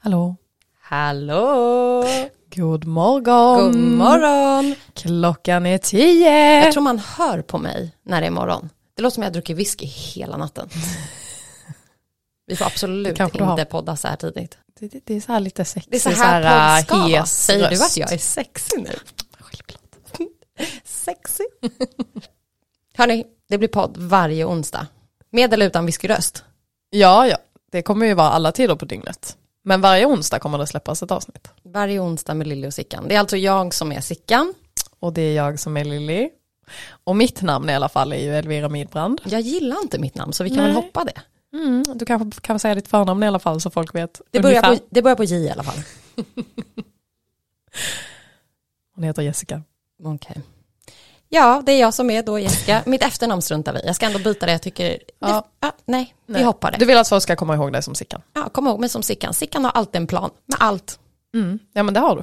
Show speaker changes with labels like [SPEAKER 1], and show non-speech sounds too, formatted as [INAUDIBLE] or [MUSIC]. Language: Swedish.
[SPEAKER 1] Hallå.
[SPEAKER 2] Hallå!
[SPEAKER 1] God morgon.
[SPEAKER 2] God morgon!
[SPEAKER 1] Klockan är tio.
[SPEAKER 2] Jag tror man hör på mig när det är morgon. Det låter som jag har druckit whisky hela [LAUGHS] natten. Vi får absolut
[SPEAKER 1] kanske du har.
[SPEAKER 2] inte podda så här tidigt.
[SPEAKER 1] det, det, det är så här lite sexig.
[SPEAKER 2] Det är så här podd ska vara.
[SPEAKER 1] hes
[SPEAKER 2] Säger du
[SPEAKER 1] röst.
[SPEAKER 2] att jag är sexig nu? Självklart. sexig. [LAUGHS] Hörni, det blir podd varje onsdag. Med eller utan whiskyröst.
[SPEAKER 1] Ja, ja. Det kommer ju vara alla tider på dygnet. Men varje onsdag kommer det släppas ett avsnitt.
[SPEAKER 2] Varje onsdag med Lilly och Sickan. Det är alltså jag som är Sickan.
[SPEAKER 1] Och det är jag som är Lilly. Och mitt namn i alla fall är ju Elvira Midbrand.
[SPEAKER 2] Jag gillar inte mitt namn så vi kan
[SPEAKER 1] Nej.
[SPEAKER 2] väl hoppa det.
[SPEAKER 1] Du kanske kan säga ditt förnamn i alla fall så folk vet
[SPEAKER 2] Mm. Det börjar,
[SPEAKER 1] ungefär.
[SPEAKER 2] på, det börjar på J i alla fall.
[SPEAKER 1] Hon heter Jessica.
[SPEAKER 2] Okej. Ja, det är jag som är
[SPEAKER 1] [LAUGHS]
[SPEAKER 2] då Jessica. Mitt efternamn struntar vi i. Jag ska ändå byta det. Jag tycker...
[SPEAKER 1] Ja.
[SPEAKER 2] Ja, nej,
[SPEAKER 1] Nej.
[SPEAKER 2] vi hoppar det.
[SPEAKER 1] Du vill att folk ska komma ihåg dig som Sickan?
[SPEAKER 2] Ja, kom ihåg mig som Sickan. Sickan har alltid en plan med allt.
[SPEAKER 1] Mm. Ja men det har du.